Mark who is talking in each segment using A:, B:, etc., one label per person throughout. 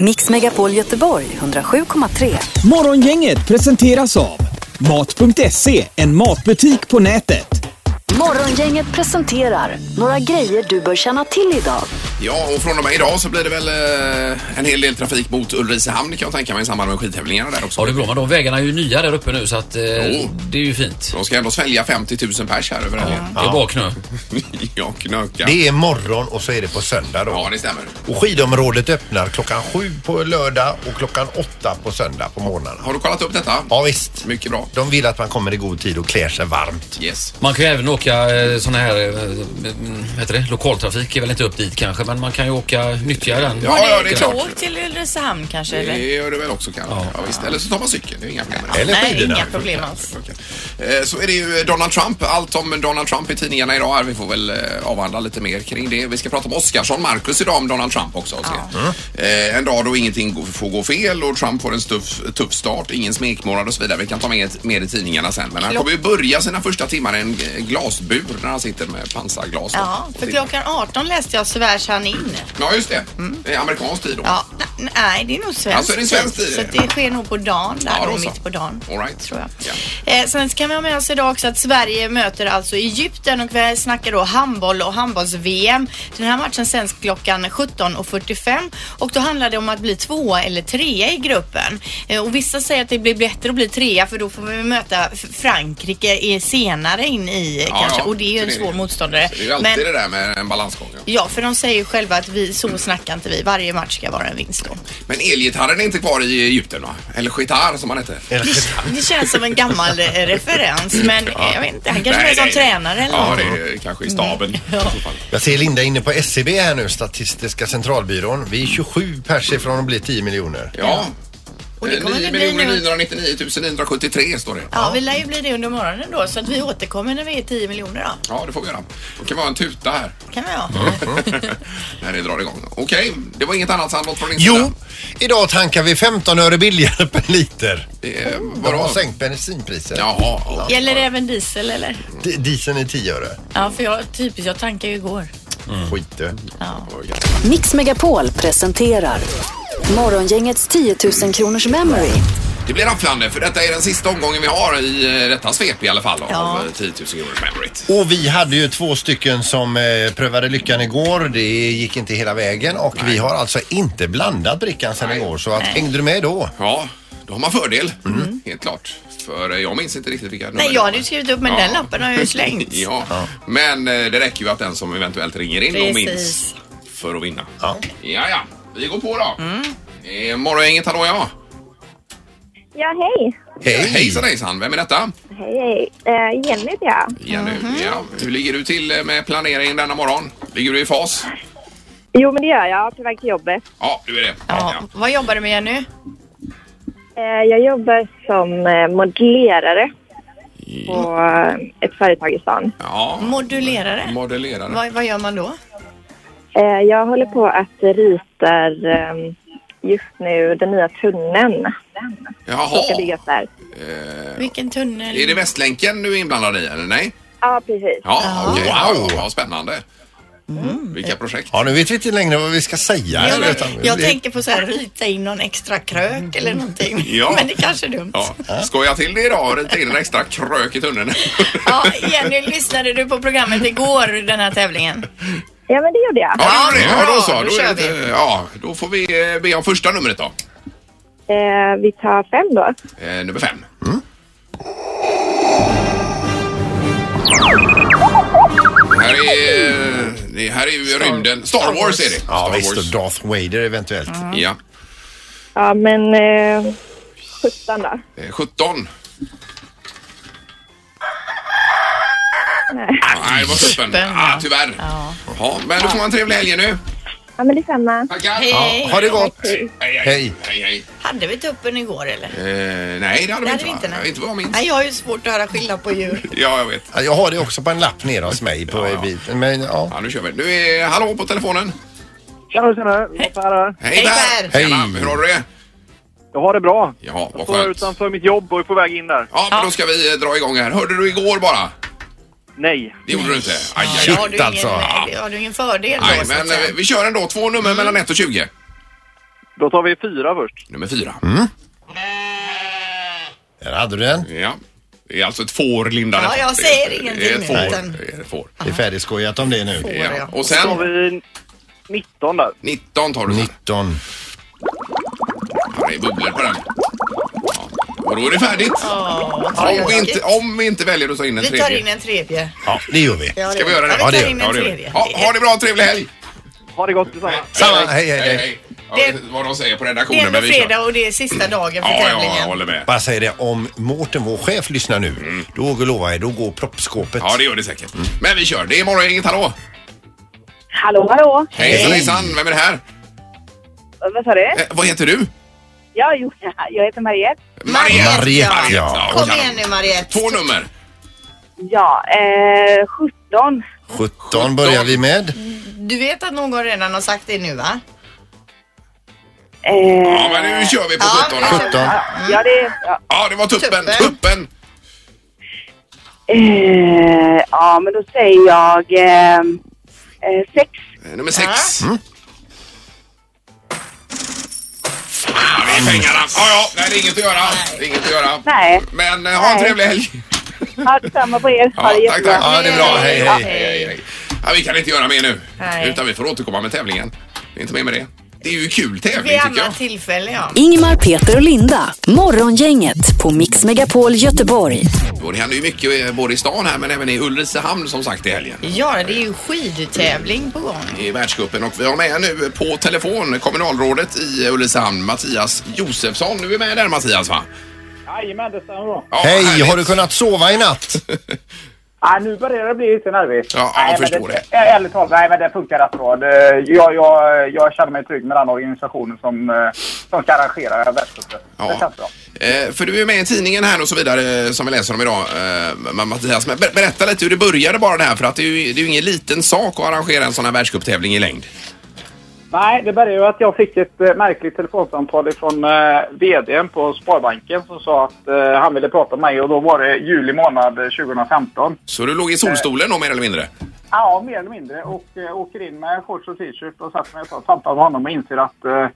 A: Mix Megapol Göteborg 107,3.
B: Morgongänget presenteras av Mat.se, en matbutik på nätet.
A: Morgongänget presenterar några grejer du bör känna till idag.
C: Ja, och från och med idag så blir det väl eh, en hel del trafik mot Ulricehamn kan jag tänka mig i samband med skidtävlingarna där också.
D: Ja, det är bra. Men de vägarna är ju nya där uppe nu så att eh,
C: Jo.
D: det är ju fint.
C: De ska ändå svälja 50 000 pers här över helgen.
D: Det är bra knö.
C: Ja, knöka.
E: Det är morgon och så är det på söndag då.
C: Ja, det stämmer.
E: Och skidområdet öppnar klockan sju på lördag och klockan åtta på söndag på morgnarna.
C: Har du kollat upp detta?
E: Ja visst.
C: Mycket bra.
E: De vill att man kommer i god tid och klär sig varmt.
C: Yes.
D: Man kan ju även åka eh, sån här, eh, mm, vad heter det, lokaltrafik är väl inte upp dit kanske men man kan ju åka, nyttja den.
C: Ja, ja, det är klart.
F: Tåg till Ulricehamn kanske?
C: Det
F: Eller?
C: gör du väl också kanske? Ja. visst. Eller så tar man cykeln, det är inga problem.
E: Eller
F: Nej,
E: skidorna.
F: inga problem alls.
C: Okej. Eh, Så är det ju Donald Trump. Allt om Donald Trump i tidningarna idag. här. Vi får väl eh, avhandla lite mer kring det. Vi ska prata om Oscarsson, Marcus idag om Donald Trump också. Och se. Eh, En dag då ingenting går- får gå fel och Trump får en tuff, tuff start. Ingen smekmånad och så vidare. Vi kan ta med med i tidningarna sen. Men han kommer ju börja sina första timmar i en eh, glasbur när han sitter med pansarglas. då.
F: Ja, för klockan 18 läste jag svärs han in.
C: Ja, just det. Det är amerikansk tid då.
F: Ja, n- nej, det är nog svenskt.
C: Alltså, det är svenskt i det?
F: Så att det sker nog på dagen där,
C: Ja, då
F: då,
C: så.
F: mitt på dagen.
C: All right.
F: Tror jag.
C: Ja.
F: Eh, sen ska vi ha med oss idag också att Sverige möter alltså Egypten och vi snackar då handboll och handbolls-VM. Den här matchen sänds klockan 17.45 och då handlar det om att bli tvåa eller trea i gruppen. Eh, och vissa säger att det blir bättre att bli trea för då får vi möta F- Frankrike i- senare in i
C: Ja,
F: kanske
C: ja.
F: och det är ju
C: Så
F: en
C: det är
F: svår
C: det.
F: motståndare.
C: Det är ju alltid
F: Men-
C: det där med en balansgång. Ja.
F: Ja, för de säger ju själva att vi, så snackar inte vi. Varje match ska vara en vinst då.
C: Men elgitarren är inte kvar i Egypten va? Eller gitarr som han hette.
E: Eller
F: Det känns som en gammal eh, referens men eh, jag vet inte, han kanske
C: Nej,
F: är som
C: nej.
F: tränare eller
C: Ja,
F: något.
C: det är kanske i staben.
E: Jag ser Linda inne på SCB här nu, Statistiska centralbyrån. Vi är 27 pers ifrån att bli 10 miljoner.
C: Ja. Eh,
F: Och det kommer
C: 9
F: det bli nu.
C: 999 973 står det.
F: Ja, vi lär ju bli det under morgonen då så att vi återkommer när vi är 10 miljoner då.
C: Ja, det får vi göra. Det kan vara en tuta här
F: kan vi ha.
C: när det drar igång. Okej, det var inget annat Sandholt från din
E: Jo,
C: sida.
E: idag tankar vi 15 öre billigare per liter.
C: Det är
E: De har
C: bra.
E: sänkt bensinpriset.
C: Jaha. ja.
F: Gäller det även diesel eller?
E: D- Dieseln är 10 öre.
F: Ja, för jag, typiskt, jag tankade ju igår.
C: Mm.
E: Skit du.
A: Mix Megapol presenterar Morgongängets 10 000 kronors memory.
C: Det blir rafflande för detta är den sista omgången vi har i eh, detta svep i alla fall
F: Ja.
C: av eh, 10 000 kronors memoryt.
E: Och vi hade ju två stycken som eh, prövade lyckan igår. Det gick inte hela vägen och vi har alltså inte blandat brickan sedan
C: Nej.
E: igår. Så att, hängde du med då?
C: Ja, då har man fördel. Helt klart. För eh, jag minns inte riktigt vilka
F: Mm. Nej,
C: nummer
F: jag
C: det
F: hade
C: var.
F: ju skrivit upp men den lappen har jag ju slängt.
C: Ja, men eh, det räcker ju att den som eventuellt ringer in och minns
F: Precis.
C: för att vinna.
E: Ja.
C: Ja, ja, vi går på då.
F: Mm.
C: Eh, Morgongänget, hallå ja.
G: Ja, hej.
E: Hej!
C: Hejsan hejsan, vem är detta?
G: Hej, hej. Eh, Jenny heter jag.
C: Jenny.
F: Mhm.
C: Ja, hur ligger du till eh, med planeringen denna morgon? Ligger du i fas?
G: Jo, men det gör jag. På väg till jobbet.
C: Ja, du är det.
F: Ja,
C: Ja.
F: vad jobbar du med nu?
G: Eh, jag jobbar som eh, modellerare på eh, ett företag i stan.
C: ja.
F: Modulerare?
C: Modellerare.
F: Vad, vad gör man då?
G: Eh, jag håller på att rita eh, just nu den nya tunneln som
C: Jaha.
G: ska byggas där.
F: Vilken tunnel?
C: Är det Västlänken du är inblandad i eller nej?
G: Ja, precis.
C: Ja, okej.
E: Wow.
C: Ja, spännande.
F: Mm.
C: Vilka projekt.
E: Ja, nu vet vi inte längre vad vi ska säga.
F: Ja, men
E: Utan-
F: jag tänker på så här rita in någon extra krök eller någonting.
C: Ja.
F: Men det kanske är dumt.
C: Ja. Skoja till det idag och rita in en extra krök i tunneln.
F: Ja, Jenny, lyssnade du på programmet igår, den här tävlingen?
G: Ja, men det gjorde jag.
C: Ja, det gjorde det. Ja, då så.
F: Bra, då
C: Då, är
F: kör
C: det, ja, då får vi eh, be om första numret då.
G: Eh, vi tar fem då.
C: Eh, nummer fem. Det här är, eh, det här är ju rymden. Star Wars är det.
E: Ja,
C: Star
E: visst. Och
C: Wars.
E: Darth Vader eventuellt.
C: Ja.
G: Ja, men eh, 17 då.
C: Eh, 17.
G: Nej.
C: Nej, det var tuppen.
F: tuppen,
C: Ah,
F: ja.
C: tyvärr. Ja. men du får ha en trevlig helg nu.
G: Ja, men detsamma.
C: Tackar.
E: Ja, ha det gott!
G: Hej.
C: Hej, hej.
E: Hej.
C: hej, hej.
F: Hade vi tuppen igår eller?
C: Eh, nej, det hade vi inte. va?
F: nej.
C: inte vad jag minns.
F: Nej, jag har ju svårt att höra skillnad på djur.
C: Ja, jag vet.
E: Ja, Jag har det också på en lapp nere hos mig. På
C: Ja, ja.
E: biten. Men, ja.
C: Ja, nu kör vi. Du är hallå på telefonen.
H: Tjena, tjena. Det var Per här.
C: Hej,
F: Hej,
C: Per.
E: Per.
C: Tjena,
E: Hej.
C: Hur har du det?
H: Jag har det bra.
C: Ja, vad
H: Står
C: skönt.
H: utanför mitt jobb och är på väg in där.
C: Ja, men då ska vi eh, dra igång här. Hörde du igår bara?
H: Nej.
C: Det gjorde du inte? Aj, aj,
F: Ja,
C: aj.
F: har, du ingen,
E: alltså.
F: nej, det har du ingen fördel då?
C: Nej,
F: så att Mm.
C: men eh,
F: säga.
C: vi kör ändå. Två nummer mellan 1 och 20.
H: Då tar vi fyra först.
C: Nummer fyra.
E: Där hade du den.
C: Ja. Det är alltså ett får, Linda.
F: Ja, jag säger ingenting
C: Det är ett
F: nu,
C: får.
F: utan-
C: Det är ett får.
E: Det är färdigskojat om det nu.
C: Ja. Och
H: Då tar
C: sen
H: vi 19 där.
C: 19 tar du. sen.
E: 19.
C: Ja, Det är bubblor på den. Ja. Och då är det färdigt. om, vi inte, om vi inte väljer att ta in en
F: Vi tar in
C: tredje.
F: en tredje.
E: Ja, det gör vi.
F: Ja,
C: Ska vi göra det?
F: Ja, vi tar
E: gör
F: in
E: vi.
C: Ja,
F: en
C: det gör vi.
F: tredje.
C: Ja, ha det bra, trevlig helg!
H: Ha det gott detsamma.
E: Samma. Hej, hej, hej.
C: Ja, jag vet inte vad de säger på
F: Det är
C: redaktionen,
F: ändå
C: men vi kör.
F: fredag och det är sista dagen för
C: Ja, ja, jag
F: tävlingen.
C: håller med.
E: Bara säger det, om Mårten, vår chef, lyssnar nu, då vågar jag lova er, då går proppskåpet.
C: Ja, det gör det säkert. Men vi kör. Det är morgongänget, hallå!
G: Hallå, hallå.
C: Hejsan, hejsan! Vem är det här?
G: Vad sa du?
C: Eh, vad heter du?
G: Ja, jo, jag heter Mariette.
C: Mariette!
E: Mariette,
C: Mariette,
E: ja.
C: ja.
F: Kom igen nu Mariette.
C: Två nummer.
G: Ja, eh, 17.
E: 17 börjar vi med.
F: Du vet att någon redan har sagt det nu va?
G: Eh,
C: Ja, men nu kör vi på
F: Ja.
C: 17.
E: 17.
G: ja, det är... Ja,
C: Ja, det var tuppen.
F: Tuppen.
C: Tuppen!
G: eh, ja men då säger jag... Eh, eh, sex.
C: Eh, Nummer sex.
E: Mm.
C: Ah, det är pengarna. Ja, ja, nej, det är inget att göra. Det är inget att göra.
G: Nej.
C: Men eh, ha en
G: Nej.
C: trevlig helg.
G: Ja, detsamma på er.
C: Ja, tack, tack. Ja, det är bra. Hej,
E: Ja.
C: hej. hej, hej. Ja, vi kan inte göra mer nu.
F: Nej.
C: Utan vi får återkomma med tävlingen. Det är inte mer med det. Det är ju kul tävling
F: Vid
C: tycker jag.
F: annat tillfälle ja.
A: Ingmar, Peter och Linda. Morgongänget på Mix Megapol Göteborg.
C: Och det händer ju mycket eh, både i stan här men även i Ulricehamn som sagt i helgen.
F: Ja, det är ju skidtävling på gång.
C: I världscupen och vi har med nu på telefon kommunalrådet i Ulricehamn, Mattias Josefsson. Du är med där Mattias va?
I: Jajamän, det stämmer bra.
C: Ja,
E: Hej,
C: härligt.
E: har du kunnat sova i natt?
I: Ah, nu börjar det bli lite nervigt.
C: Ja, ja, jag
I: men
C: förstår det.
I: Ä- Ärligt talat, nej men det funkar rätt bra. Det, jag, jag, jag känner mig trygg med den organisationen som, eh, som ska arrangera världscupen. Det
C: Ja.
I: känns bra.
C: Eh, För du är med i tidningen här och så vidare eh, som vi läser om idag eh, Ma- Mattias. Men ber- berätta lite hur det började bara det här för att det är ju, det är ju ingen liten sak att arrangera en sån här världscuptävling i längd.
I: Nej, det började ju att jag fick ett eh, märkligt telefonsamtal från eh, VDn på Sparbanken som sa att eh, han ville prata med mig och då var det juli månad eh, 2015.
C: Så du låg i solstolen då mer eller mindre?
I: Ja, mer eller mindre. Och eh, åker in med shorts och t-shirt och satt mig och sa- samtal med honom och inser att eh,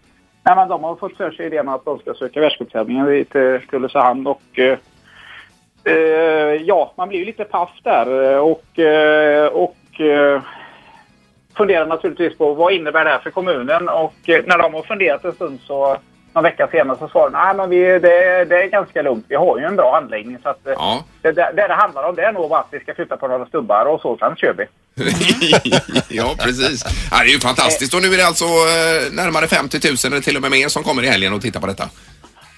I: nej, men de har fått för sig idén att de ska söka världscuptävlingen i- till till Ulricehamn. Och eh, eh, ja, man blir ju lite paff där eh, och, eh, och eh, funderar naturligtvis på vad innebär det här för kommunen. Och eh, när de har funderat en stund så någon vecka senare så svarar de nej men vi, det, det är ganska lugnt. Vi har ju en bra anläggning så att eh,
C: Ja.
I: det, det, det det handlar om det är nog bara att vi ska flytta på några stubbar och så, sen kör vi.
C: ja, precis. Ja, det är ju fantastiskt. Och nu är det alltså eh, närmare 50 000 eller till och med mer som kommer i helgen och tittar på detta.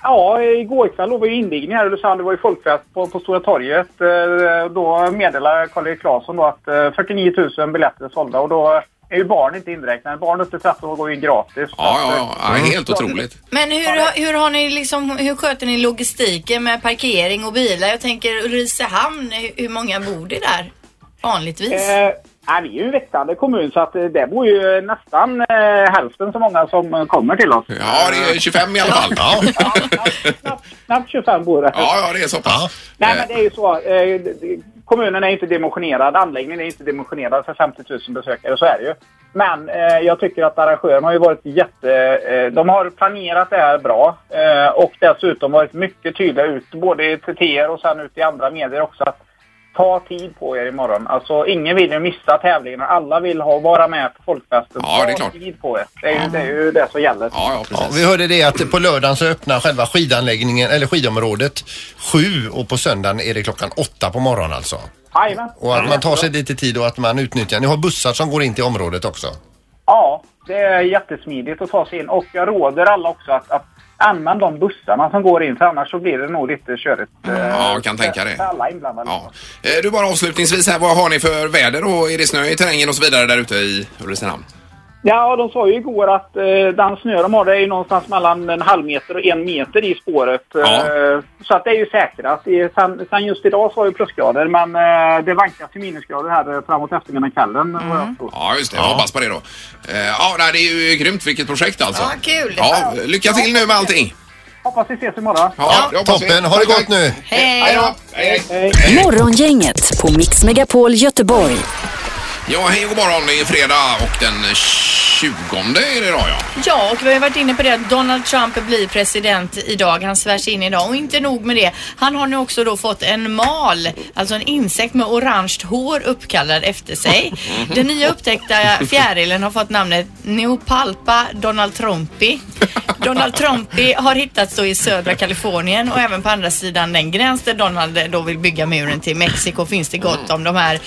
I: Ja, igår kväll var ju invigning här i Ulricehamn. Det var ju folkfest på, på Stora torget. Eh, Då meddelade Karl-Erik Claesson då att eh, 49 000 biljetter är sålda och då är ju barn inte inräknade. Barn upp till 13 år går ju gratis.
C: Ja, ja, ja. ja
E: Mm.
C: helt otroligt.
F: Men hur, hur, har ni liksom, hur sköter ni logistiken med parkering och bilar? Jag tänker Ulricehamn, hur- hur många bor det där vanligtvis?
I: Eh, nej, vi är ju en växande kommun så att eh, det bor ju nästan eh, hälften så många som eh, kommer till oss.
C: Ja, det är 25 i alla fall.
E: Ja.
I: Ja, knappt- knappt, knappt 25 bor det.
C: Ja, ja, det är så pass.
I: Nej,
C: Eh,
I: men det är ju så. Eh, d- d- kommunen är inte dimensionerad, anläggningen är inte dimensionerad för 50 000 besökare, så är det ju. Men eh, jag tycker att arrangören har ju varit jätte... Eh, de har planerat det här bra eh, och dessutom varit mycket tydliga ut, både till TR och sen ut i andra medier också, att ta tid på er imorgon. Alltså, ingen vill ju missa tävlingen och alla vill ha, vara med på folkfesten.
C: Ja, det är
I: ta
C: klart.
I: tid på er. Det är, ju, det är ju det som gäller.
C: Ja, ja,
E: Ja,
C: precis.
E: vi hörde det att på lördagen så öppnar själva skidanläggningen, eller skidområdet, sju och på söndagen är det klockan åtta på morgonen alltså.
I: Jajamän.
E: Och att man tar sig lite tid och att man utnyttjar, ni har bussar som går in till området också.
I: Ja, det är jättesmidigt att ta sig in. Och jag råder alla också att, att använda de bussarna som går in, för annars så blir det nog lite körigt.
C: Ja, jag kan tänka
I: För
C: det.
I: alla inblandade.
C: Ja. Eh, Du, bara avslutningsvis här, vad har ni för väder och är det snö i terrängen och så vidare där ute i Ulricehamn?
I: Ja, de sa ju igår att eh, den snö de har det är ju någonstans mellan en halv meter och en meter i spåret.
C: Ja.
I: Eh, så att det är ju säkrat. I- Sen, sen just idag så var det plusgrader, men eh, det vankas till minusgrader här eh, framåt eftermiddagen kvällen. vad jag förstår.
C: Ja, just det. Jag hoppas på det då. Eh, Ja, nej, det är ju grymt vilket projekt alltså.
F: Ja, kul.
C: Ja, lycka till nu med allting.
I: Hoppas vi ses imorgon.
C: Ja, det hoppas vi.
E: Toppen, ha det
C: Tack, tack.
E: gott nu!
F: Hej!
C: eh, Hej då. Hej, hej.
A: Morgongänget på Mix Megapol Göteborg.
C: Ja, hej och god morgon. Det är fredag och den 20 är det idag ja.
F: Ja, och vi har ju varit inne på det att Donald Trump blir president idag. Han svärs in idag och inte nog med det. Han har nu också då fått en mal, alltså en insekt med orange hår uppkallad efter sig. Den nya upptäckta fjärilen har fått namnet Neopalpa Donald Trumpi. Donald Trumpi har hittats då i södra Kalifornien och även på andra sidan den gräns där Donald då vill bygga muren till Mexiko finns det gott om de här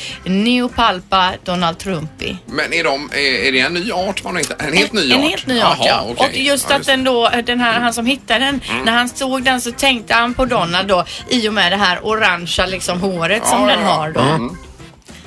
F: Neopalpa Donald Trumpi.
C: Men är, de, är, är det en ny art? Man har inte, en helt ny art?
F: En helt ny art,
C: Jaha,
F: ja.
C: okej.
F: Och just
C: Ja, Mm.
F: att den då, den här, han som hittade den, när han såg den så tänkte han på Donald då i och med det här orangea liksom håret som
C: Ja,
F: den
C: ja, ja. Mm.
F: har då.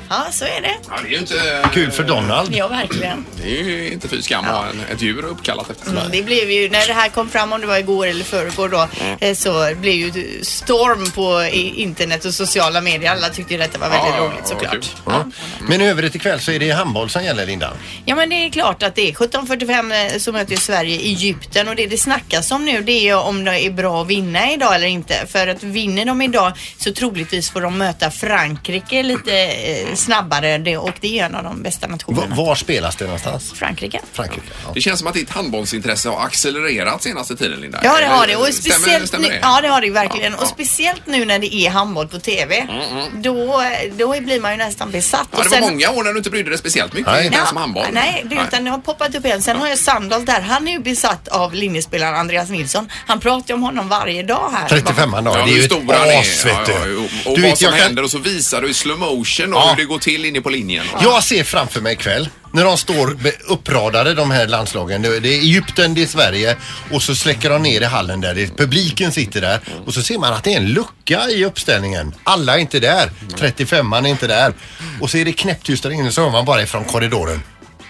F: Ja, så är det.
C: Ja, det är ju inte...
E: Kul för Donald.
F: Ja, verkligen.
C: Det är ju inte fy skam att ha en- ett djur uppkallat efter sig.
F: Mm, det blev ju, när det här kom fram, om det var igår eller förrgår då,
C: Mm.
F: eh, så blev ju storm på i- internet och sociala medier. Alla tyckte ju detta var väldigt
C: Ja,
F: roligt
C: ja,
F: såklart.
C: kul.
E: Ja. Mm. Men i övrigt ikväll så är det handboll som gäller Linda.
F: Ja men det är klart att det är 17.45 så möter ju Sverige Egypten och det det snackas om nu det är ju om det är bra att vinna idag eller inte. För att vinner de idag så troligtvis får de möta Frankrike lite eh, snabbare det, och det är en av de bästa
E: V
F: nationerna.
E: var spelas det någonstans?
F: Frankrike.
E: Frankrike. Ja.
C: Det känns som att ditt handbollsintresse har accelererat senaste tiden Linda.
F: Ja det har det och
C: Stämmer-
F: speciellt
C: stämmer
F: nu,
C: det?
F: ja det har det verkligen och
C: ja. Mm,
F: speciellt nu när det är handboll på TV. Då, då blir man ju nästan besatt.
C: Ja,
F: och
C: det var många år när du inte brydde dig speciellt mycket
E: Nej.
C: om
F: Ja,
C: det som handboll.
F: Nej, det, utan det har poppat upp igen. Sen har jag Sandahl där. Han är ju besatt av linjespelaren Andreas Nilsson. Han pratar ju om honom varje dag här.
E: 35 dagar,
C: Ja,
E: det är
C: hur
E: ju
C: stor han är.
E: ett as vet
C: Ja,
E: du.
C: ja, och och
E: du
C: vad
E: vet,
C: som
E: jag,
C: händer
E: kan,
C: och så visar du i slow motion och
E: Ja.
C: hur det går till inne på linjen.
E: jag ser framför mig ikväll när de står be- uppradade de här landslagen. Det det är Egypten, det är Sverige och så släcker de ner i hallen där. Det är, publiken sitter där och så ser man att det är en lucka i uppställningen. Alla är inte där. 35an är inte där. Och så är det knäpptyst där inne så hör man bara ifrån korridoren.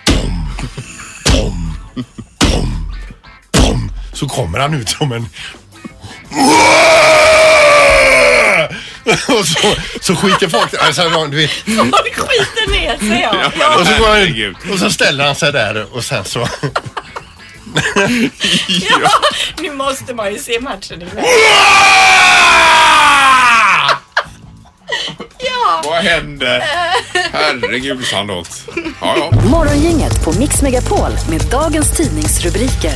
E: Pom, pom, pom, pom. Så kommer han ut som en och så, så skiter folk alltså, de- du vet,
F: Folk skiter ner sig. Ja.
E: och, så går han, ut, och så ställer han sig där och sen så...
F: Ja, nu måste man ju se matchen ikväll. Ja,
C: Vad händer? Herregud Sandholt. Ja, ja.
A: Morgongänget på Mix Megapol med dagens tidningsrubriker.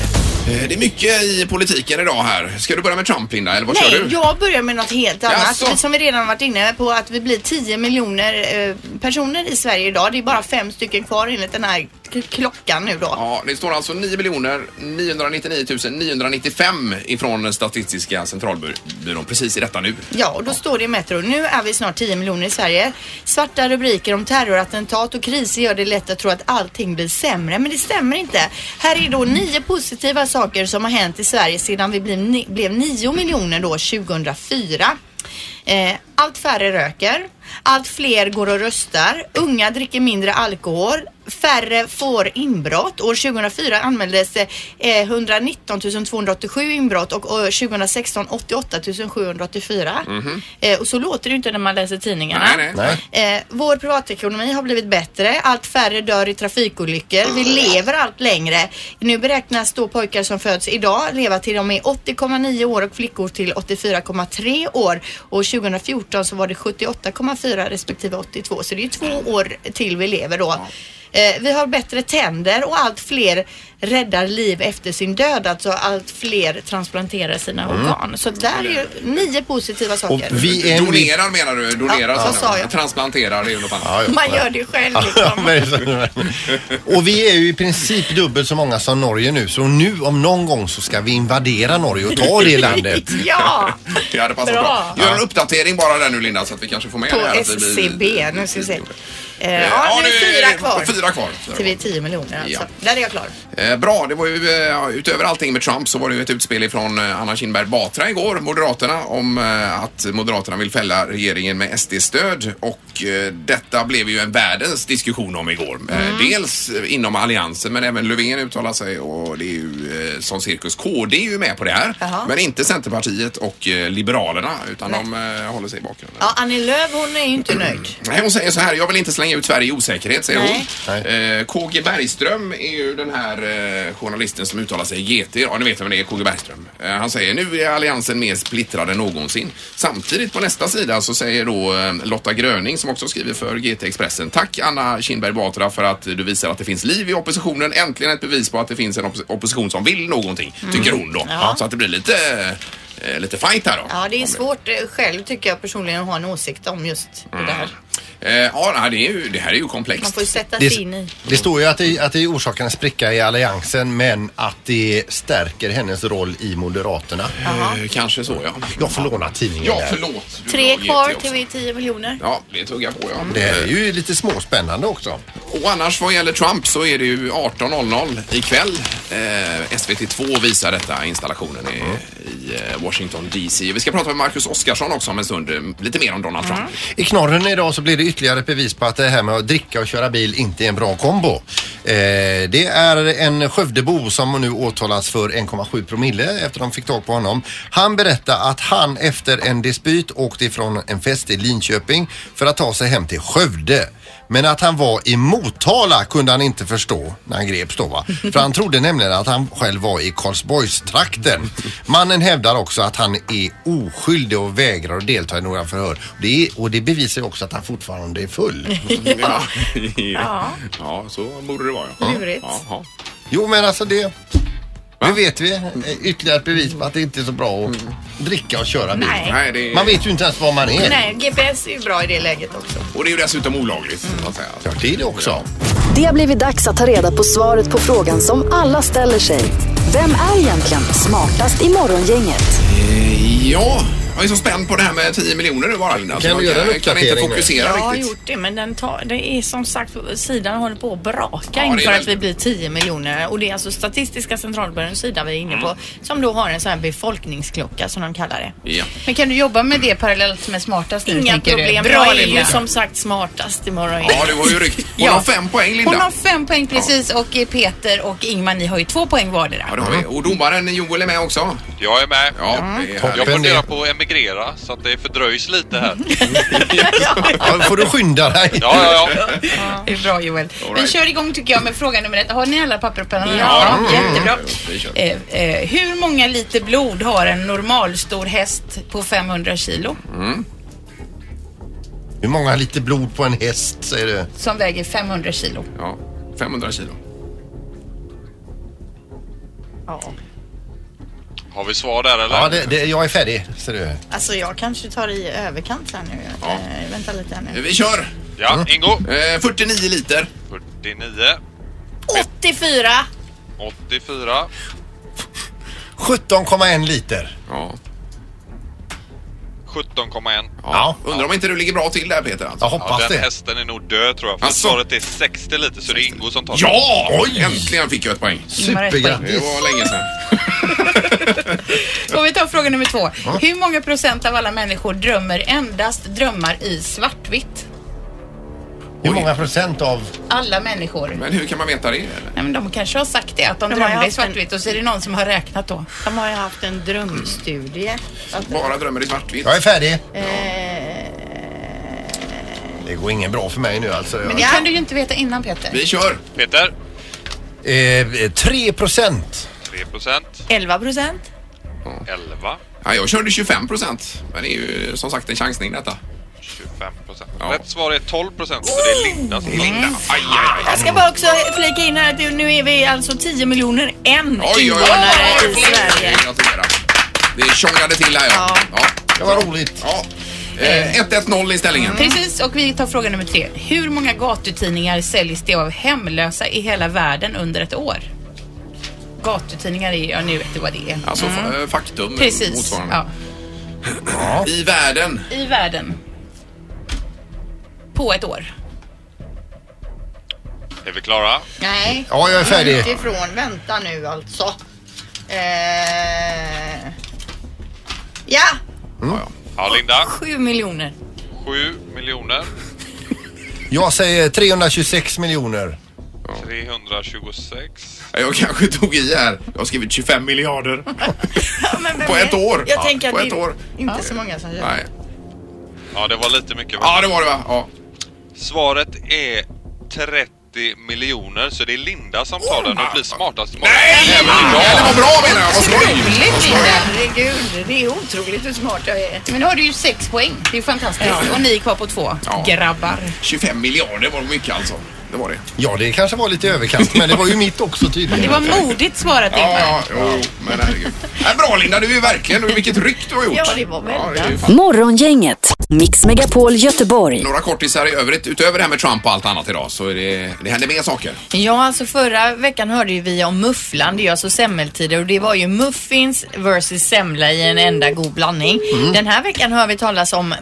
C: Eh, Det är mycket i politiken idag här. Ska du börja med Trump Linda eller vad
F: nej,
C: kör du?
F: jag börjar med något helt annat.
C: Jaså?
F: Som vi redan varit inne på att vi blir 10 miljoner eh, personer i Sverige idag. Det är bara fem stycken kvar enligt den här k- klockan nu då.
C: Ja, det står alltså 9 999 995 ifrån Statistiska centralbyrån precis i detta nu.
F: Ja, och då står det i Metro. Nu är vi snart 10 miljoner i Sverige. Svarta rubriker om terrorattentat och kriser gör det lätt att tro att allting blir sämre, men det stämmer inte. Här är då nio positiva saker som har hänt i Sverige sedan vi blev, ni- blev 9 miljoner då 2004. Eh, allt färre röker, allt fler går och röstar, unga dricker mindre alkohol, färre får inbrott. År 2004 anmäldes eh, 119 287 inbrott och eh, 2016 88 784. Eh, och så låter det ju inte när man läser tidningarna.
C: Mhm. Nej, nej.
E: Nej.
F: Eh, vår privatekonomi har blivit bättre. Allt färre dör i trafikolyckor. Vi lever allt längre. Nu beräknas då pojkar som föds idag leva till de är 80,9 år och flickor till 84,3 år. Och 2014 så var det 78,4 respektive 82. Så det är ju två år till vi lever då. Eh, vi har bättre tänder och allt fler räddar liv efter sin död. Alltså allt fler transplanterar sina organ. Så där är ju nio positiva
E: Mm. Och
F: saker.
E: vi är... Vi,
C: Donerar menar du? Donerar?
F: Ja, så
C: menar du.
F: sa jag.
C: Transplanterar, det är ju något annat.
F: Man gör det själv
E: Ja,
F: liksom.
E: men så- och vi är ju i princip dubbelt så många som Norge nu så nu om någon gång så ska vi invadera Norge och ta det landet.
F: Ja!
C: Det hade passat bra.
F: Bra.
C: Gör en uppdatering bara där nu Linda så att vi kanske får med
F: På
C: det här. att det blir-
F: SCB. Nu ska vi se. Eh,
C: Eh,
F: Ja, nu är fyra kvar.
C: Fyra kvar. Fyra
F: Till
C: kvar.
F: vi är 10 miljoner
C: Ja.
F: alltså. Där är jag klar.
C: Eh, bra, det var ju eh, ja, utöver allting med Trump så var det ju ett utspel från eh, Anna Kinberg Batra igår, Moderaterna, om eh, att Moderaterna vill fälla regeringen med SD-stöd och eh, detta blev ju en världens diskussion om igår. Eh, dels eh, inom Alliansen men även Löfven uttalar sig och det är ju eh, som cirkus. KD är ju med på det här
F: Jaha.
C: men inte Centerpartiet och eh, Liberalerna utan de eh, håller sig i bakgrunden.
F: Ja, Annie Lööf hon är ju inte nöjd.
C: Mm. Nej, hon säger så här, jag vill inte slänga slänga ut Sverige i osäkerhet, säger hon.
E: Nej.
C: Eh, KG Bergström är ju den här eh, journalisten som uttalar sig i GT. Ja, ni vet vem det är, KG Bergström. Eh, han säger nu är alliansen mer splittrad än någonsin. Samtidigt på nästa sida så säger då eh, Lotta Gröning som också skriver för GT Expressen. Tack Anna Kinberg Batra för att du visar att det finns liv i oppositionen. Äntligen ett bevis på att det finns en oppos- opposition som vill någonting, tycker hon då.
F: Mm. Ja.
C: Så att det blir lite, eh, lite fight här då.
F: Ja, det är
C: Om-
F: svårt eh, själv tycker jag personligen att ha en åsikt om just det där.
C: Eh, ja, nej, det, är ju, det här är ju
F: Man
C: komplext.
F: får ju sätta
E: Det,
F: sig in i.
E: det står ju att det, att det är orsaken att spricka i alliansen men att det stärker hennes roll i Moderaterna.
C: Eh, kanske så, ja.
E: Jag får låna tidningen
C: Ja,
E: där.
C: förlåt. Du
F: Tre
C: drar
F: kvar
C: GT också.
F: till vi 10 miljoner.
C: Ja, det tuggar på, ja.
E: Det är ju lite småspännande också.
C: Och annars vad gäller Trump så är det ju 18.00 ikväll. Eh, SVT2 visar detta, installationen i,
E: Mm.
C: i eh, Washington DC. Vi ska prata med Marcus Oskarsson också om en stund, eh, lite mer om Donald Trump.
F: Mm.
E: I knorren idag så blir det ytterligare ett bevis på att det här med att dricka och köra bil inte är en bra kombo. Eh, det är en Skövdebo som nu åtalas för 1,7 promille efter de fick tag på honom. Han berättar att han efter en dispyt åkte ifrån en fest i Linköping för att ta sig hem till Skövde. Men att han var i Motala kunde han inte förstå när han greps då va. För han trodde nämligen att han själv var i Karlsborgstrakten. Mannen hävdar också att han är oskyldig och vägrar att delta i några förhör. Det är, och det bevisar ju också att han fortfarande är full.
C: Ja. ja. så borde det vara. Ja.
F: Lurigt.
C: Jaha.
E: Jo men alltså det... Nu vet vi eh, ytterligare ett bevis på att det inte är så bra att dricka och köra bil.
F: Nej.
C: Nej, det är,
E: Man vet ju inte ens var man är.
F: Nej, GPS är ju bra i det läget också.
C: Och det är ju dessutom olagligt. Så att säga.
E: Ja, det är det också.
A: Det har blivit dags att ta reda på svaret på frågan som alla ställer sig. Vem är egentligen smartast i morgongänget?
C: Eh, Ja, jag är så spänd på det här med 10 miljoner nu bara Linda. så
E: Kan
C: jag
E: du göra en
C: jag kan inte
E: uppdatering nu?
C: fokusera
F: Jag har
C: riktigt.
F: gjort det men den tar, det är som sagt sidan håller på att braka
C: det är
F: inför
C: väldigt-
F: att vi blir 10 miljoner och det är alltså Statistiska centralbyråns sida vi är inne
C: Mm.
F: på som då har en sån här befolkningsklocka som de kallar det.
C: Ja.
J: Men kan du jobba med det parallellt med smartast nu
F: Inga
J: tänker
F: problem.
J: du?
F: jag är ju
J: Linda.
F: som sagt smartast imorgon.
C: ja, det var ju rykt. Hon
J: Ja.
C: har fem poäng Linda.
J: Hon har fem poäng precis och Peter och Ingmar ni har ju två poäng
C: Ja,
J: vardera.
C: det har vi. Och domaren Joel är med också.
K: Jag är med.
C: Ja, det är
E: Toppen.
K: Jag
C: härligt.
K: funderar på att emigrera så att det fördröjs lite här.
E: Ja, då får du skynda dig.
K: Ja, ja, ja.
J: Det är bra Joel. Vi
C: right.
J: kör igång tycker jag med fråga nummer ett. Har ni alla papper och pennor?
C: Ja, då.
J: jättebra.
C: Vi kör.
J: Eh, eh, hur många liter blod har en normalstor häst på 500 kilo
E: Hur många liter blod på en häst säger du?
J: som väger 500 kilo?
C: Ja, 500 kilo.
K: Har vi svar där eller?
E: Ja, det, det, jag är färdig ser du.
F: Alltså jag kanske tar i överkant här nu. Eh, vänta lite här nu.
C: Vi kör!
K: Ja, Ingo.
C: Eh, 49 liter.
K: 49,
F: 84!
K: 84,
E: 17,1 liter.
C: Ja.
K: 17,1.
E: Ja.
C: Undrar om inte du ligger bra till där Peter? Alltså.
E: Jag
K: Ja, den
E: hoppas det.
K: hästen är nog död tror jag. För
C: Alltså.
K: svaret är 60 lite så det är Ingo som tar det.
C: Ja! Oj! Äntligen fick jag ett poäng.
J: Ingmar har ett poäng.
C: Det
E: Supergrattis.
C: var länge sedan.
J: Och vi tar fråga nummer två. Hur många procent av alla människor drömmer endast drömmar i svartvitt?
E: Hur många procent av...
J: Alla människor.
C: Men hur kan man veta det? eller?
J: Nej, men de kanske har sagt det, att de,
F: De har
J: drömde i
F: haft en-
J: svartvitt och så är det någon som har räknat då.
F: De har ju haft en drömstudie.
C: Bara drömmer i svartvitt.
E: Jag är färdig.
F: Eh,
E: Det går ingen bra för mig nu alltså.
J: Men
E: Jag...
J: det
F: Ja.
J: kan du ju inte veta innan Peter.
C: Vi kör!
K: Peter,
E: Eh, 3 procent.
K: 3 procent.
F: 11 procent.
K: 11,
C: Ja, jag körde 25 procent. Men det är ju som sagt en chansning detta.
K: 25 procent.
C: Ja.
K: Rätt svar är 12 procent så det är Linda som tar det.
C: Linda! Aj, aj, aj.
F: Jag ska bara också flika in här att det- nu är vi alltså 10 miljoner en
C: Oj, oj, oj!
F: invånare i Sverige. Mm.
C: Gratulerar. Det tjongade till här ja. Ja.
E: Det var roligt.
C: ja. Eh, 1-1-0 i ställningen.
J: Precis, och vi tar fråga nummer tre. Hur många gatutidningar säljs det av hemlösa i hela världen under ett år? Gatutidningar är, ja nu vet du vad det är.
C: Alltså fa- eh, faktum eh,
J: Mm. Precis,
C: motsvarande.
J: ja.
C: I världen.
J: I världen. På ett år.
K: Är vi klara?
F: Nej,
E: Ja, jag är färdig.
F: utifrån. Vänta nu alltså. Eh, ja,
K: Ja, Linda.
F: 7 miljoner.
K: 7 miljoner
E: Jag säger 326 miljoner.
K: 326.
C: eh, Jag kanske tog i här. Jag har skrivit 25 miljarder.
F: Ja, men vem
C: På ett
F: vet?
C: år.
F: Jag
C: Ja,
F: tänker
C: på
F: att
C: ett
F: det
C: år.
F: är inte så många som gör det.
C: Nej.
K: Ja, det var lite mycket. va?
C: Ja, det var det va? Ja.
K: Svaret är 30 miljoner, så det är Linda som tar den och blir smartast i morgon.
C: Nej! Det var bra menar jag! Vad skoj!
J: Otroligt Linda! Herregud, det är otroligt hur smart jag är. Men nu har du ju sex poäng. Det är fantastiskt. Och ni är kvar på två.
C: Ja.
J: Grabbar.
C: 25 miljarder var mycket alltså. Det var det.
E: Ja, det kanske var lite i överkant, men det var ju mitt också tydligen.
J: Det var modigt svarat
C: Ja,
J: Ingmar.
C: ja, jo, men herregud. Nej, bra Linda, du är verkligen... Vilket ryck du har gjort.
J: Ja, det var
C: Ja, det är ju fan-
A: Morgongänget, Mix Megapol Göteborg.
C: Några kortisar i övrigt, utöver det här med Trump och allt annat idag, så är det, det händer mer saker.
F: Ja, alltså förra veckan hörde ju vi om mufflan, det är alltså semmeltider och det var ju muffins versus semla i en enda god blandning.
G: Mm.
F: Den här veckan hör vi talas om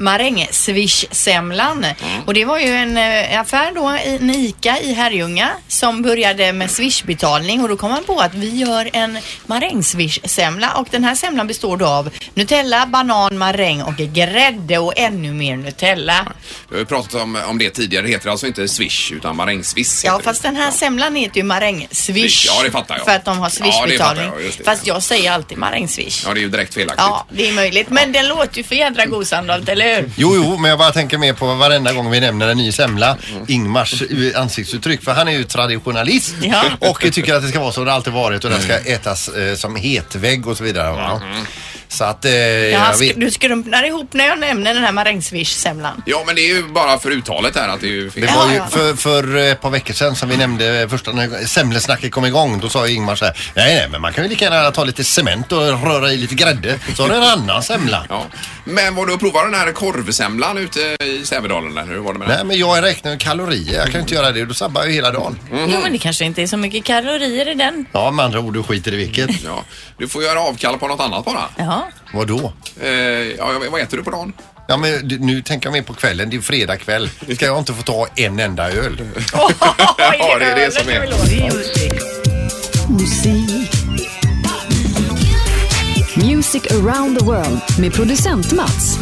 F: marängsvischsemlan
C: Mm.
F: och det var ju en eh, affär då, i- en ICA i Herrljunga som började med swishbetalning och då kom man på att vi gör en marängsvischsemla och den här semlan består då av Nutella, banan, maräng och grädde och ännu mer Nutella.
C: Vi har ju pratat om, om det tidigare, det heter alltså inte swish utan marängsviss.
F: Ja, fast den här semlan heter ju marängsvisch.
C: Ja, det fattar jag.
F: För att de har
C: Ja, det fattar
F: swishbetalning.
C: jag, just det.
F: fast jag säger alltid marängsvisch.
C: Ja, det är ju direkt felaktigt.
F: Ja, det är möjligt. Men den låter ju för jädra god Sandholt, eller hur?
E: Jo, jo, men jag bara tänker mer på varenda gång vi nämner en ny semla, Ingmars eh, ansiktsuttryck, för han är ju traditionalist
F: Ja.
E: och tycker att det ska vara så det alltid varit och den ska ätas eh, som hetvägg och så vidare. Va? Så att, eh,
F: Ja,
E: jag
F: sk-
E: vet.
F: du skrumpnar ihop när jag nämner den här marängsvisch-semlan.
C: Ja, men det är ju bara för uttalet här att det är ju fel.
E: Det var ju för, för ett par veckor sedan som vi nämnde första när semlesnacket kom igång. Då sa ju Ingmar så här, nej nej men man kan ju lika gärna ta lite cement och röra i lite grädde. Så har du en annan semla.
C: Ja. Men var du och provade den här korvsemlan ute i Sävedalen eller hur var det med
E: Nej
C: den?
E: men jag räknar ju kalorier, jag kan ju inte göra det. Då sabbar jag ju hela dagen.
C: Mm-hmm.
F: Jo, men det kanske inte är så mycket kalorier i den.
E: Ja med andra ord, du skiter i vilket.
C: Ja. Du får göra avkall på något annat bara.
F: Ja.
E: Vad då?
C: Eh, ja, jag vet- vad äter du på dagen?
E: Ja, men du- nu tänker jag mer på kvällen. Det är fredag kväll. Ska jag inte få ta en enda öl?
C: ja, det är det som är.
A: Musik. Music around the world med producent Mats.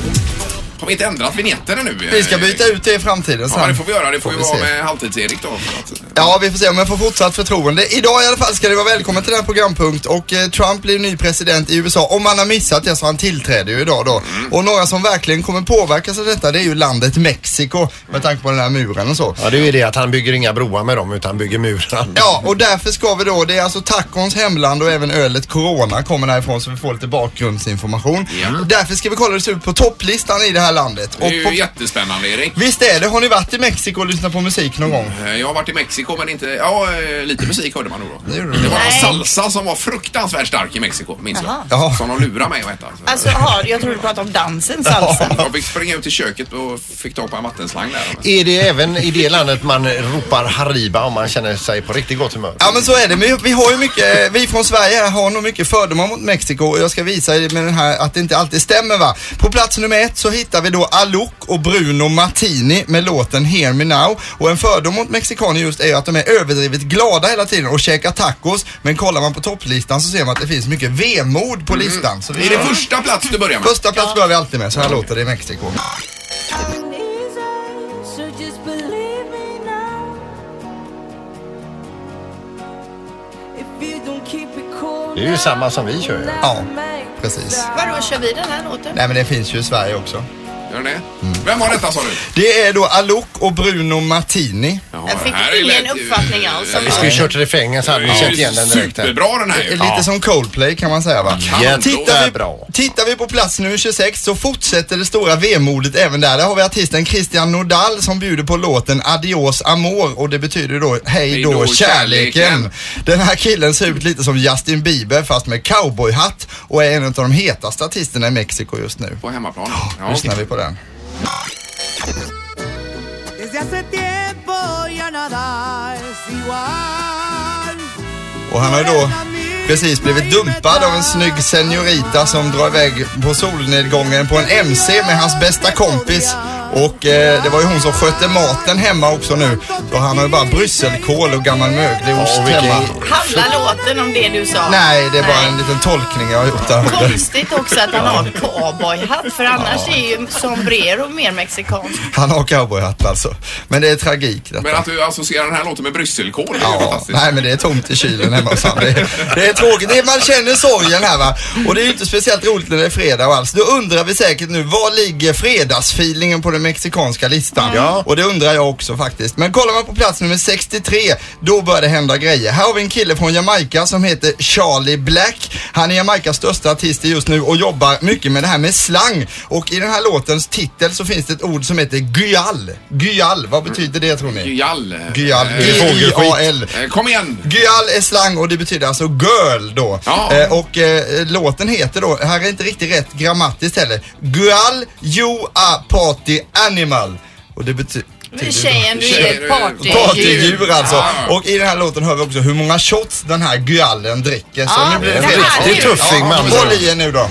C: Har vi inte ändrat vinjetterna nu?
L: Vi ska byta ut det i framtiden
C: Ja,
L: sen.
C: det får vi göra. Det får,
L: Får
C: ju
L: vi
C: vara
L: se.
C: med Halvtids-Erik då. Alltså, för att-
L: Ja, vi får se om jag får fortsatt förtroende. Idag i alla fall ska ni vara välkommen till den här programpunkt och eh, Trump blir ny president i USA. Om han har missat det så han tillträder ju idag då.
D: Mm.
L: Och några som verkligen kommer påverkas av detta det är ju landet Mexiko med tanke på den här muren och så.
E: Ja, det är ju det att han bygger inga broar med dem utan bygger murar.
L: Ja, och därför ska vi då, det är alltså tacons hemland och även ölet Corona kommer därifrån så vi får lite bakgrundsinformation. Därför ska vi kolla hur det ser ut på topplistan i det här landet.
C: Det är ju
L: på...
C: jättespännande, Erik.
L: Visst är det? Har ni varit i Mexiko och lyssnat på musik någon gång?
C: Eh, Jag har varit i Mexiko men inte... Ja, eh, lite musik hörde man nog då. Det var en salsa som var fruktansvärt stark i Mexiko, minns
F: Jaha.
C: jag. Som de lurade mig att äta.
F: Alltså, ja, jag tror du pratade om dansen, salsa.
C: Jag fick springa ut i köket och fick tag på en vattenslang där.
E: Är det även i det landet man ropar hariba om man känner sig på riktigt gott humör?
L: Ja men så är det. Men vi har ju mycket, vi från Sverige här har nog mycket fördomar mot Mexiko och jag ska visa er med den här att det inte alltid stämmer va. På plats nummer ett så hittar vi då Alok och Bruno Martini med låten Hear Me Now och en fördom mot mexikaner just är ju att de är överdrivet glada hela tiden och käkar tacos men kollar man på topplistan så ser man att det finns mycket vemod på listan. Så
C: Är det första plats du börjar med?
L: Första plats börjar vi alltid med, så här låter det i Mexiko.
E: Det är ju samma som vi kör ju.
L: Ja, precis.
F: Vadå, kör vi den här låten?
L: Nej men det finns ju i Sverige också.
C: Gör den det? Vem var detta sa du?
L: Det är då Alok och Bruno Martini.
F: Jag fick ingen uppfattning alls om
E: Vi skulle ju kört refrängen så hade vi känt igen den direkt. här.
L: Lite som Coldplay kan man säga va?
E: Jättebra.
L: Tittar vi, tittar vi på plats nummer 26 så fortsätter det stora vemodet även där. Där har vi artisten Christian Nordal som bjuder på låten Adios Amor och det betyder då Hej
E: Hej
L: då
E: då,
L: kärleken.
E: kärleken.
L: Den här killen ser ut lite som Justin Bieber fast med cowboyhatt och är en av de hetaste artisterna i Mexiko just nu.
C: På hemmaplan?
L: Ja, lyssnar vi på den.
M: Desde hace tiempo ya nada es igual.
L: Och han har ju då precis blivit dumpad av en snygg seniorita som drar iväg på solnedgången på en MC med hans bästa kompis. Och eh, det var ju hon som skötte maten hemma också nu. Så han har ju bara brysselkål och gammal mögelost
E: Ja, vilken-
L: hemma.
F: Handlar låten om det du sa?
L: Nej, det är bara en liten tolkning jag har gjort där.
F: Konstigt också att han har cowboyhatt för annars är ju sombrero mer mexikansk.
L: Han har cowboyhatt alltså. Men det är tragik
C: Men
L: detta.
C: att du associerar den här låten med brysselkål, det är ju
L: Ja,
C: fantastiskt.
L: nej men det är tomt i kylen hemma hos han. Det, är- det är tråkigt. Det är, man känner sorgen här va. Och det är ju inte speciellt roligt när det är fredag och alls. Då undrar vi säkert nu, var ligger fredagsfeelingen på den mexikanska listan.
E: Ja.
L: Och det undrar jag också faktiskt. Men kollar man på plats nummer 63, då börjar det hända grejer. Här har vi en kille från Jamaica som heter Charlie Black. Han är Jamaicas största artist just nu och jobbar mycket med det här med slang. Och i den här låtens titel så finns det ett ord som heter gyal. Gyal, vad betyder det tror ni?
C: Gyal.
L: Gyal.
C: Eh,
L: G-Y-A-L.
C: Eh, Kom igen.
L: Gyal är slang och det betyder alltså girl då. Eh, och eh, låten heter då, här är inte riktigt rätt grammatiskt heller, Gyal you a party animal. Och det betyder
J: Tjejen, du är ett party.
L: Partydjur alltså.
J: Ja.
L: Och i den här låten hör vi också hur många shots den här gyallen dricker. Så
J: Ja,
L: nu blir det
J: den
L: fel.
J: här är ju- Det är tuffing med andra
L: Håll
J: ord.
L: i er nu då.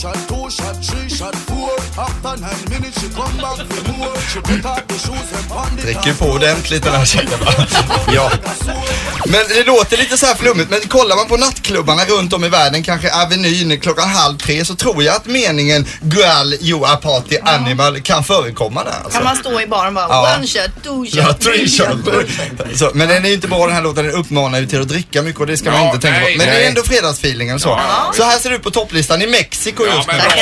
N: Shot, two shot, three shot, four. After nine minutes, she come back with more. She put out the shoes and pound the
L: Dricker på ordentligt den här tjejen va? Ja. Men det låter lite så här flummigt, men kollar man på nattklubbarna runt om i världen, kanske Avenyn klockan halv tre, så tror jag att meningen Girl you are party animal kan förekomma där. Alltså.
F: Kan man stå i baren bara
L: Ja.
F: one shot, two shot,
L: Ja, three
F: three
L: shot. Så, men den är ju inte bra den här låten, den uppmanar ju till att dricka mycket och det ska man
F: Ja,
L: inte tänka
F: nej,
L: på. Men det
F: nej.
L: är ändå fredagsfeelingen och så.
F: Ja.
L: Så här ser det ut på topplistan i Mexiko just
C: Bra!
L: nu.
C: Alltså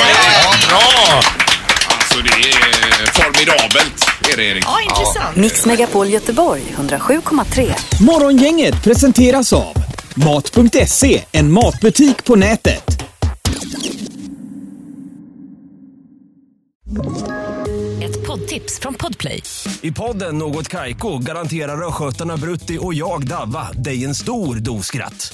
C: det är formidabelt. Är det Erik?
F: Ja, intressant.
A: Mix Megapol Göteborg 107,3.
B: Morgongänget presenteras av Mat.se, en matbutik på nätet.
O: Ett poddtips från Podplay.
P: I podden Något Kaiko garanterar östgötarna Brutti och jag, Davva, dig en stor dos skratt.